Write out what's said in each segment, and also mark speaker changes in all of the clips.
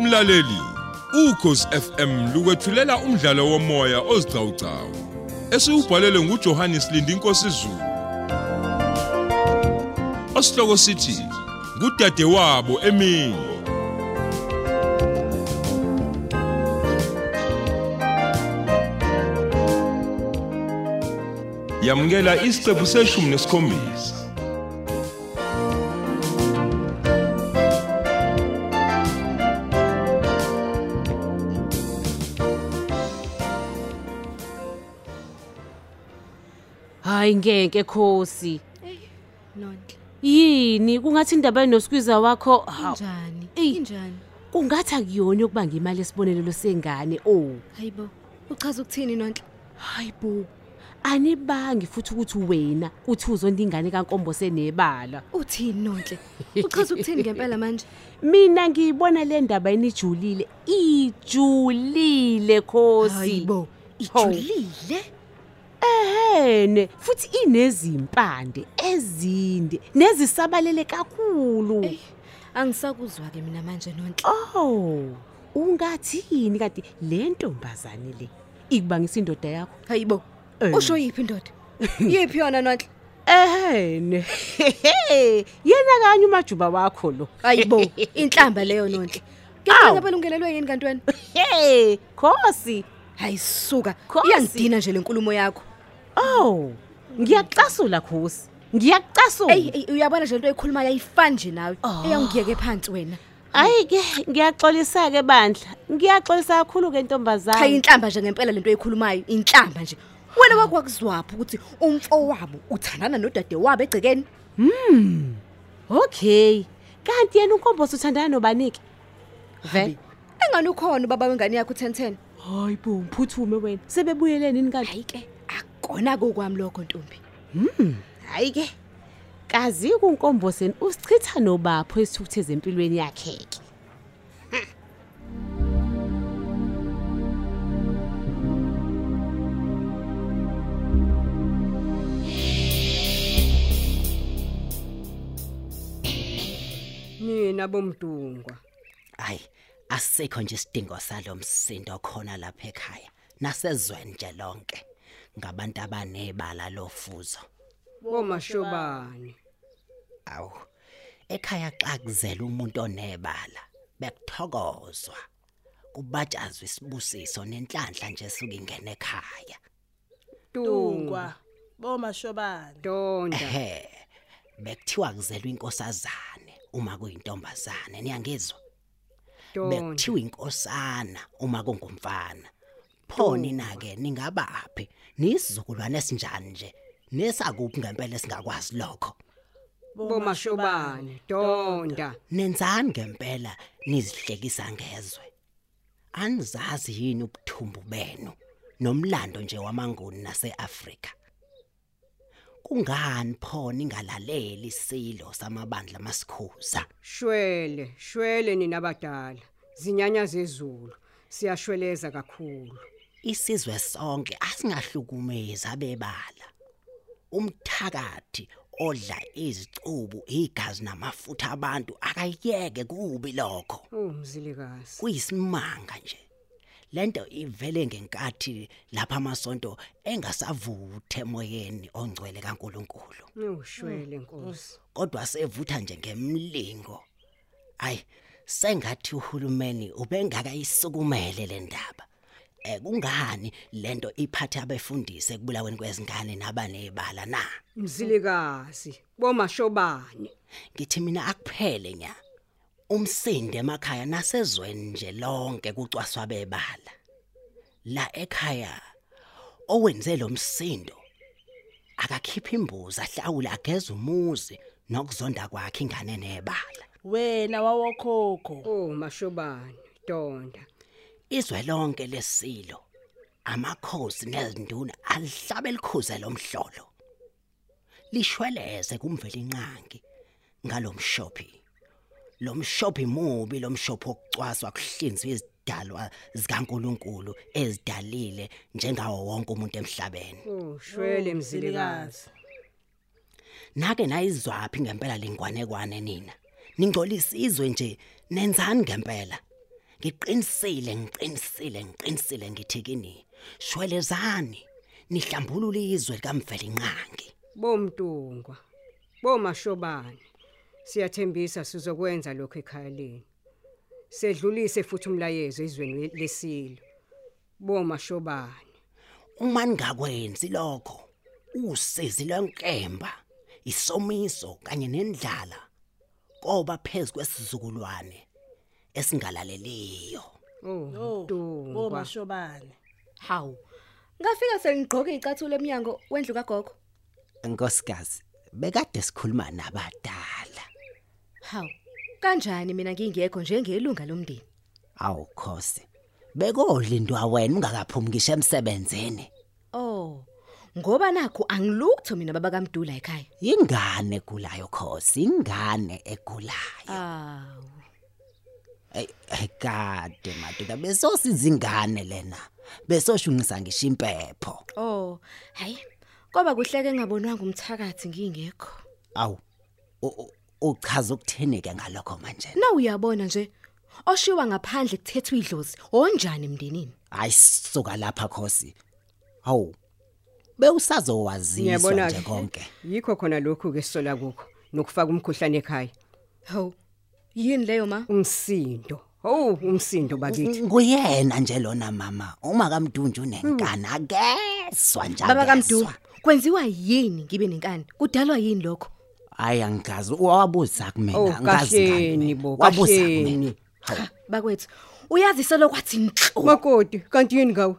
Speaker 1: mlaleli ukhosi FM lukwethulela umdlalo womoya ozicawucawu esiubhalelwe nguJohannes Lindi inkosi Zulu Osihloko sithi kudade wabo emini Yamukela isiqephu seshumi nesikhombisa
Speaker 2: hayi ngeke khosi
Speaker 3: Nonhle.
Speaker 2: yini kungathi indaba enosikwiza wakho hawu
Speaker 3: Njani?
Speaker 2: Eyi.
Speaker 3: Injani?
Speaker 2: kungathi akuyona ukubanga imali esibonelelo sengane oh
Speaker 3: Hayibo. Uchaza ukuthini Nonhle?
Speaker 2: hayi bo anibangi futhi ukuthi wena uthi uzonda ingane kankombose nebala
Speaker 3: Uthini Nonhle? Uchaza ukuthini ngempela manje?
Speaker 2: mina ngiyibona le ndaba enijulile ijulile khosi
Speaker 3: Hayibo.
Speaker 2: Hawu.
Speaker 3: Ijulile.
Speaker 2: ehene futhi inezimpande ezinde nezisabalele kakhulu
Speaker 3: Eyi, Angisakuzwa ke mina manje Nonhle.
Speaker 2: Oh, ungathini kanti le ntombazane le ikubangisa indoda yakho?
Speaker 3: Hayibo.
Speaker 2: Eh.
Speaker 3: Usho yiphi indoda? Yiphi yona Nonhle?
Speaker 2: Ehene. Yena kanye umajuba wakho lo.
Speaker 3: Hayibo. Inhlamba leyo Nonhle.
Speaker 2: Awu.
Speaker 3: Ngicela belungelelwe yini kanti wena?
Speaker 2: Hey, khosi.
Speaker 3: Hayi suka.
Speaker 2: Khosi.
Speaker 3: Iyangidina nje lenkulumo yakho.
Speaker 2: Oh, ngiyacasula khosi.
Speaker 3: Ey,
Speaker 2: Ngiyacasula.
Speaker 3: ey, uyabona nje into oyikhulumayo ayifani nje nawe. Eyangiyeke phansi wena.
Speaker 2: Hayi ke ngiyaxolisa ke bandla. Ngiyaxolisa kakhulu ke
Speaker 3: cha
Speaker 2: ntombazane.
Speaker 3: inhlamba nje ngempela lento oyikhulumayo inhlamba nje wena wakwakuzwapha ukuthi umfo wabo uthandana nodade wabo egcekeni
Speaker 2: Okay. Kanti yena unkombosi uthandana nobanike? Ve.
Speaker 3: engani ukhona ubaba wengane yakho u-1010
Speaker 2: Hayi bo, mphuthume wena. Sebebuyeleni nini kanti?
Speaker 3: hayi ke akukona-ke okwami lokho ntombi
Speaker 2: hayi ke kazi kunkomboseni usichitha nobapho esithukutheze empilweni yakhe ke
Speaker 4: nina bomdungwa
Speaker 5: hayi asikho nje isidingo salomsindo khona lapha ekhaya nasezweni nje lonke ngabantu abanebala lofuzo
Speaker 4: bomashobane
Speaker 5: awu ekhaya xa kuzela umuntu onebala bekuthokozwa kubatshazwe isibusiso nenhlanhla nje suka ingena ekhaya
Speaker 4: dungwa
Speaker 6: bomashobana
Speaker 4: donda
Speaker 5: ehe bekuthiwa kuzelwe inkosazane uma kuyintombazane niyangizwa
Speaker 4: donda
Speaker 5: bekuthiwa inkosana uma kungumfana pho nina ke ningabaphi nisizukulwane esinjani nje nesakuphi ngempela singakwazi lokho
Speaker 4: bomashobane donda
Speaker 5: nenzani ngempela nizihlekisa ngezwe anizazi yini ubuthumbu benu nomlando nje wamanguni naseAfrika kungani pho ningalaleli silo samabandla masikhuza
Speaker 4: shwele shwele nina abadala zinyanya zezulu siyashweleza kakhulu
Speaker 5: isizwe sonke asingahlukumezi abebala umthakathi odla izicubu igazi namafutha abantu akayeke kubi lokho
Speaker 4: umzilikazi
Speaker 5: kuyisimanga nje lento ivele ngenkathi lapha amasonto engasavuthe emoyeni ongcwele kaNkuluNkulu
Speaker 4: ushwele nkosi
Speaker 5: kodwa sevutha nje ngemlingo ay sengathi uhulumeni ubengaka isukumele le ndaba eh kungani lento iphatha abefundise kubulaweni kwezingane nabanebala na
Speaker 4: mzilikazi bomashobane
Speaker 5: ngithi mina akuphele nya umsinde emakhaya nasezweni nje lonke kucwaswa bebala la ekhaya owenze lo msindo akakhipha imbuzi ahlawula ageza umuzi nokuzonda kwakhe ingane nebala
Speaker 6: wena wawokhokho
Speaker 4: omashobane donda
Speaker 5: izwe lonke lesilo amakhosi nezinduna alihlabe likhuze lomhlolo lishweleze kumvela inqangi ngalomshophi lomshophi mubi lomshophi okucwaswa kuhlinzwe izidalwa zikaNkuluNkulu ezidalile njengawo wonke umuntu emhlabeni
Speaker 4: ushwele mzilikazi
Speaker 5: nake nayizwaphi ngempela lengwane kwane nina ningcolisa izwe nje nenzani ngempela ngiqinisile ngiqinisile ngiqinisile ngithi kini shwelezani nihlambulule izwe likamveli nqangi
Speaker 3: bomntungwa bomashobane siyathembisa sizokwenza lokho ekhaya leni sedlulise futhi umlayezo izweni lesilo bomashobane
Speaker 5: uma ningakwenzi lokho usizi lwenkemba isomiso kanye nendlala koba phezu kwesizukulwane esingalaleliyo
Speaker 3: oh
Speaker 7: Oh,
Speaker 3: ntungwa
Speaker 7: bomashobane.
Speaker 6: hawu ngafika sengigqoke icathulo eminyango wendlu kagogo
Speaker 5: nkosikazi bekade sikhuluma nabadala
Speaker 6: hawu kanjani mina ngingekho njengelunga lomndeni
Speaker 5: awukhosi bekodlindwa wena ungakaphumukisha emsebenzini
Speaker 6: oh ngoba nakho angilutho mina baba kamdula ekhaya
Speaker 5: ingane egulayo khosi ingane egulayo
Speaker 6: aw
Speaker 5: Ey, ey, kade madoda besosiza ingane lena besoshunqisa ngisho impepho
Speaker 6: oh hayi kwaba kuhleke ngabonwanga umthakathi ngingekho
Speaker 5: awu u- u- uchaza ukutheneke ngalokho manje
Speaker 6: na uyabona nje oshiwa ngaphandle kuthethwe idlozi onjani emndenini
Speaker 5: hayi suka lapha khosi awu bewusazowaziswa
Speaker 3: Ngiyabona
Speaker 5: nje konke
Speaker 3: yikho khona lokhu ke sola kukho nokufaka umkhuhlane ekhaya
Speaker 6: hawu yini leyo ma
Speaker 3: umsindo hawu umsindo bakithi
Speaker 5: nguyena nje lona mama uma kamdunju nenkana akezwa njalo
Speaker 6: baba kamdula kwenziwa yini ngibe nenkani kudalwa yini lokho
Speaker 5: hayi angigazi wawabuza
Speaker 3: Oh,
Speaker 5: kumina
Speaker 3: kahleni bo, kahleni.
Speaker 5: hawu
Speaker 6: bakwethu uyazi selokwathi nhlo
Speaker 3: makoti kanti yini ngawe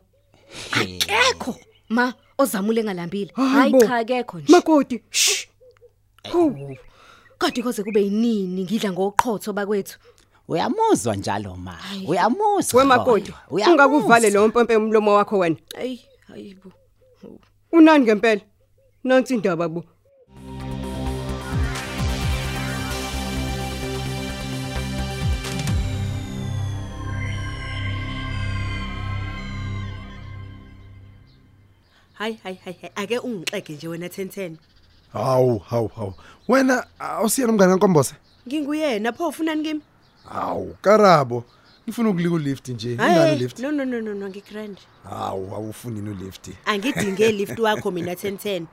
Speaker 6: akekho ma ozamule ngalambile
Speaker 3: Hayi
Speaker 6: hayi
Speaker 3: bo.
Speaker 6: cha akekho nje
Speaker 3: makoti shh Hawu,
Speaker 6: kodwa koze kube yinini ngidla ngoqhotho bakwethu
Speaker 5: uyamuzwa njalo ma uyamuzwa
Speaker 3: we makoti
Speaker 5: Khoya. Uyamuzwa.
Speaker 3: ungakuvale lo mpompe umlomo wakho wena
Speaker 6: ayi hayibo
Speaker 3: unani ngempela nansi indaba bo
Speaker 7: Hayi hayi hayi hayi, ake ungixege nje wena 1010.
Speaker 8: hawu hawu hawu wena awusiyena umngane kankombose
Speaker 7: Nginguyena pho ufunani kimi?
Speaker 8: hawu karabo ngifuna ukuliko lift nje inalo
Speaker 7: Hayi,
Speaker 8: lift
Speaker 7: no no no no no ngigrand.
Speaker 8: hawu awufuni no lift
Speaker 7: Angidinge lift wakho mina 1010.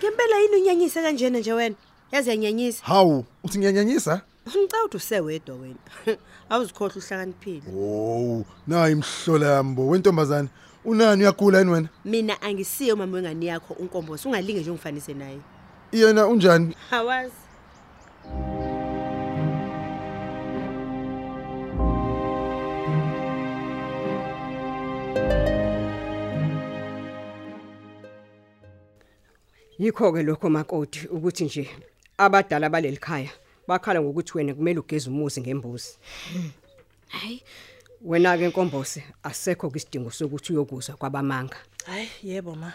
Speaker 7: Ngempela yini unyanyise kanjena nje wena? Yazi yanyanyisa.
Speaker 8: hawu uthi ngiyanyanyisa
Speaker 7: Ngicela ukuthi usewedwa wena. Awuzikhohle uhlakaniphile.
Speaker 8: oh nayi imhlolambo wentombazane unani uyagula yini wena
Speaker 7: Mina angisiyo mama wengane yakho unkombosi ungalinge nje ungifanise naye.
Speaker 8: yena unjani
Speaker 7: Hawazi.
Speaker 3: yikho ke lokho makoti ukuthi nje abadala baleli khaya bakhala ngokuthi wena kumele ugeze umuzi ngembuzi
Speaker 6: hayi
Speaker 3: wena ke nkombose asekho kwisidingo sokuthi uyokuzwa kwabamanga Hmm.
Speaker 7: Hayi yebo ma.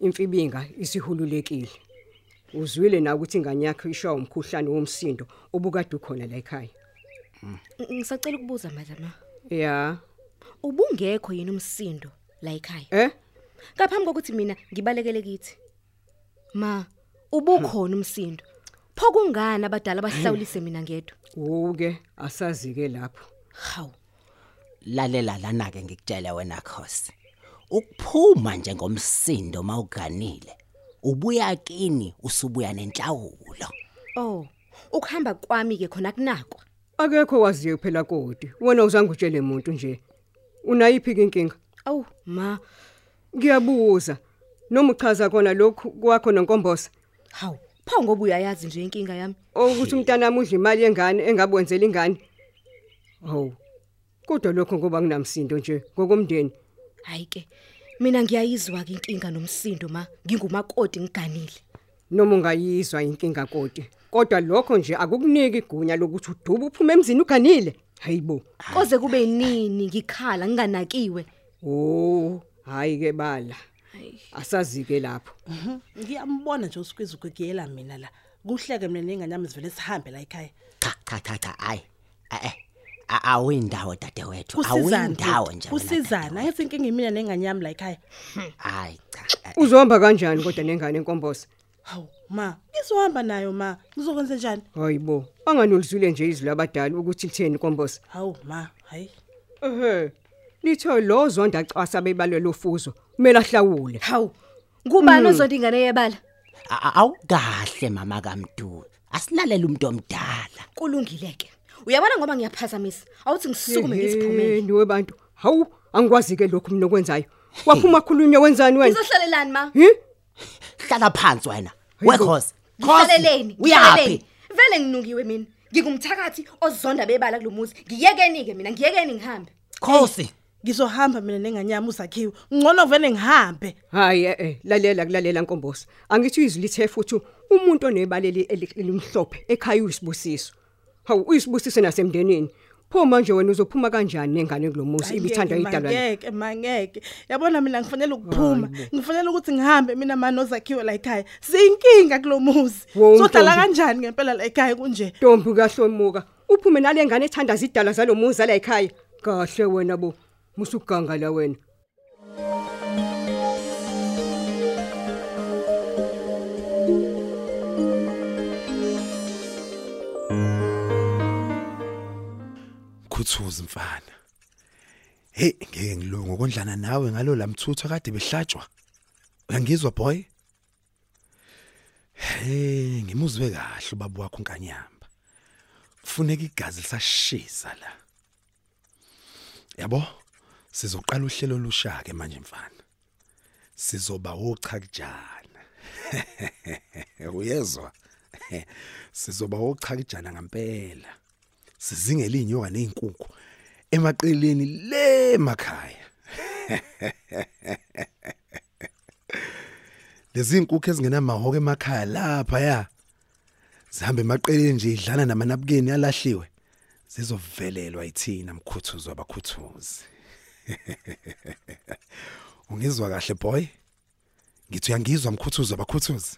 Speaker 3: imfibinga isihululekile uzwile na ukuthi ingane yakho ishawa umkhuhlane womsindo obukade ukhona la ekhaya
Speaker 6: ng- ngisacela ukubuza manje ma
Speaker 3: ya
Speaker 6: ubungekho yini umsindo la ekhaya
Speaker 3: eh
Speaker 6: ngaphambi kokuthi mina ngibalekele kithi ma ubukhona umsindo pho kungani abadala bahlawulise mina ngedwa
Speaker 3: uke asazike lapho
Speaker 6: hawu
Speaker 5: lalela lana ke ngikutshela wena khosi ukuphuma njengomsindo mawuganile ubuya kini usubuya nenhlawulo
Speaker 6: oh ukuhamba kwami ke khona kunakwa
Speaker 3: akekho waziyo phela kodi wena uzange utshele umuntu nje unayiphi ke inkinga
Speaker 6: awu ma
Speaker 3: ngiyabuza noma uchaza kona lokhu kwakho nonkombosa Oh,
Speaker 6: hawu pho ngoba uyayazi nje inkinga yami
Speaker 3: ukuthi umntana wami udla imali yengane engabwenzela ingane hawu kodwa lokho ngoba kunamsindo nje ngokomndeni
Speaker 6: hayi ke mina ngiyayizwa ke inkinga nomsindo ma ngingumakoti ngiganile
Speaker 3: noma ungayizwa inkinga kodi kodwa lokho nje akukuniki igunya lokuthi uduba uphume emzini uganile hayibo
Speaker 6: koze kube nini ngikhala nginganakiwe
Speaker 3: oh hayi ke bala asazike lapho
Speaker 7: Ngiyambona nje usikwiza ukugiyela mina la. Kuhleke mina nengane yami sivele sihambe la ekhaya.
Speaker 5: cha cha cha cha ayi eh eh, a- awuyindawo dadewethu
Speaker 7: Kusizana.
Speaker 5: awuyindawo nje wena
Speaker 7: Kusizana. Angithi inkinga imina nengane yami la ekhaya.
Speaker 5: dadewethu. hayi cha eh,
Speaker 3: uzohamba kanjani kodwa nengane enkombosa
Speaker 6: hawu ma ngizohamba nayo ma ngizokwenza njani
Speaker 4: hayibo anganolizwile nje izwi labadala ukuthi litheni nkombosi
Speaker 6: hawu ma hayi
Speaker 4: ehe lithe lo zonda xasa bebalelo fuzo kumele ahlawule
Speaker 3: Hawu. Kubani
Speaker 6: Mm.
Speaker 3: ozondingane yebala?
Speaker 5: awukahle mama kaMdudu asilalele umuntu omdala
Speaker 3: Kulungileke. Uyabona ngoba ngiyaphazamisa. Awuthi ngisukume ngiziphumele.
Speaker 4: Yini webantu hawu angikwazi ke lokhu mina okwenzayo waphuma khulunywe wenzani wena
Speaker 3: Uzohlalelani ma?
Speaker 4: hi
Speaker 5: hlala phansi wena wekhosi
Speaker 3: Ngihlaleleni.
Speaker 5: uyaphi
Speaker 3: ngihlaleleni. Vele nginukiwe mina. Ngingumthakathi ozonda bebala kulomuzi. Ngiyekeni ke mina, ngiyekeni ngihambe.
Speaker 5: khosi
Speaker 6: ngizohamba mina nenganyama uzakhiwe ngcono vele ngihambe
Speaker 4: hayi eh eh, lalela kulalela nkombosi angithi izwi lithe futhi umuntu onebaleli eli- elimhlophe ekhaya uyisibusiso hawu uyisibusiso nasemndenini pho manje wena uzophuma kanjani nengane kulomuzi ibithanda idalwa
Speaker 6: ngeke mangeke yabona mina ngifanele ukuphuma ngifanele ukuthi ngihambe mina manozakhiwe la ekhaya siyinkinga kulomuzi
Speaker 4: Wo,
Speaker 6: sohlala
Speaker 4: Ntombi.
Speaker 6: kanjani ngempela la ekhaya kunje
Speaker 4: Ntombi kahlomuka, uphume nalengane ethanda izidalwa zalomuzi la ekhaya. Kahle wena bo, musuganga la wena.
Speaker 8: khuthuza mfana hey ngeke ngilunge ukondlana nawe ngalo lamthuthu kade behlatshwa uyangizwa boy hey ngimuzwe kahle ubaba wakho unkanyamba kufuneka igazi lisashisa la yabo sizoqala uhlelo lusha ke manje mfana sizoba ocha kujana uyezwa sizoba ocha kujana ngempela sizingele inyoka neinkukhu emaqeleni le makhaya lezi inkukhu ezingenamahoko emakhaya lapha ya zihambe emaqeleni nje idlana namanabukeni alahliwe zizovelelwa ithina mkhuthuzi wabakhuthuzi ungizwa kahle boy ngithi uyangizwa mkhuthuzi wabakhuthuzi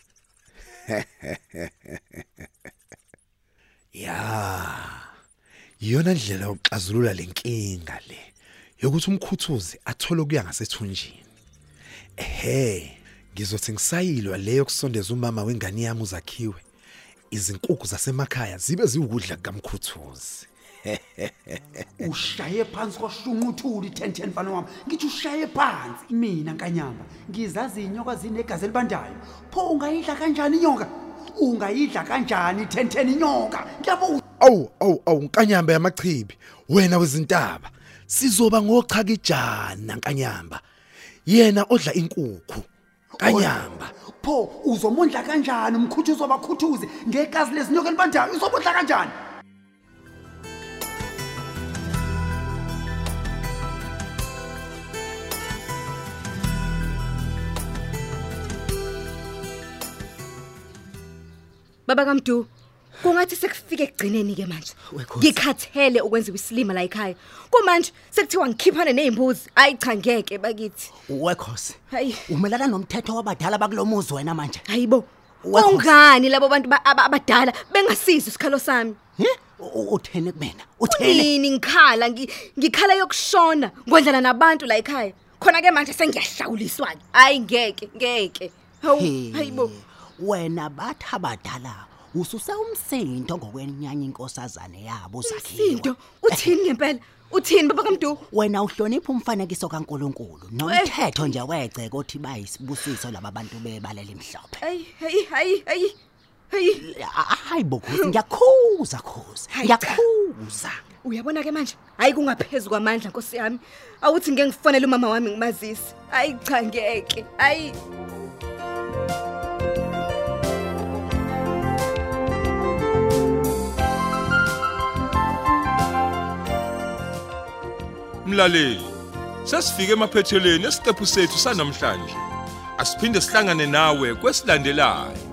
Speaker 8: ya iyona ndlela yokuxazulula lenkinga le yokuthi umkhuthuzi athole kuya ngasethunjini ehe ngizothi ngisayilwa leyo kusondeza umama wengane yami uzakhiwe izinkukhu zasemakhaya zibe ziwukudla kukamkhuthuzi
Speaker 9: ushaye phansi kwashunquthuli 1010 mfana wami ngithi ushaye phansi mina nkanyamba ngizazi inyoka zinegazi elibandayo pho ungayidla kanjani inyoka ungayidla kanjani 1010 inyoka ngiyabuza
Speaker 8: awu awu awu nkanyamba yamachibi wena wezintaba sizoba ngochakijana nkanyamba yena odla inkukhu kanyamba
Speaker 9: pho uzomondla kanjani umkhuthuzi wabakhuthuzi ngegazi lezinyoka elibandayo uzomondla kanjani
Speaker 3: Baba kaMdu, kungathi sekufike ekugcineni ke manje.
Speaker 5: Wekhosi.
Speaker 3: Ngikhathele ukwenziwa isilima la ekhaya. Kumanje sekuthiwa ngikhiphane nezimbuzi. Ayi cha ngeke bakithi.
Speaker 5: wekhosi
Speaker 3: Hayi.
Speaker 5: umelana nomthetho wabadala bakulomuzi wena manje
Speaker 3: Hayibo.
Speaker 5: Wekhosi.
Speaker 3: Ungani labo bantu ba- aba- abadala bengasiza isikhalo sami?
Speaker 5: he uthene kumena uthene
Speaker 3: Yini ngikhala ngi- ngikhala yokushona ngondlana nabantu la ekhaya. Khona ke manje sengiyahlawuliswa. Hayi ngeke, ngeke. Hawu, hayibo.
Speaker 5: wena bathi abadala ususe umsindo ngokwenyanya inkosazane yabo uzakhiwe
Speaker 3: Sinto, uthini ngempela? Uthini baba kaMdu?
Speaker 5: wena uhlonipha umfanekiso kaNkuluNkulu nomthetho nje wegceke othi bayisibusiso laba bantu bebalela imhlophe
Speaker 3: Hayi, hayi, hayi, hayi. Hayi.
Speaker 5: hayi bokhosi ngiyakhuza khosi
Speaker 3: Hayi cha.
Speaker 5: ngiyakhuza
Speaker 3: Uyabona ke manje hayi kungaphezulu kwamandla Nkosi yami awuthi ngeke ngifonele umama wami ngimazise hayi cha ngeke hayi
Speaker 1: Mlaleli, sesifike emaphethelweni esiqephu sethu sanamhlanje. Asiphinde sihlangane nawe kwesilandelayo.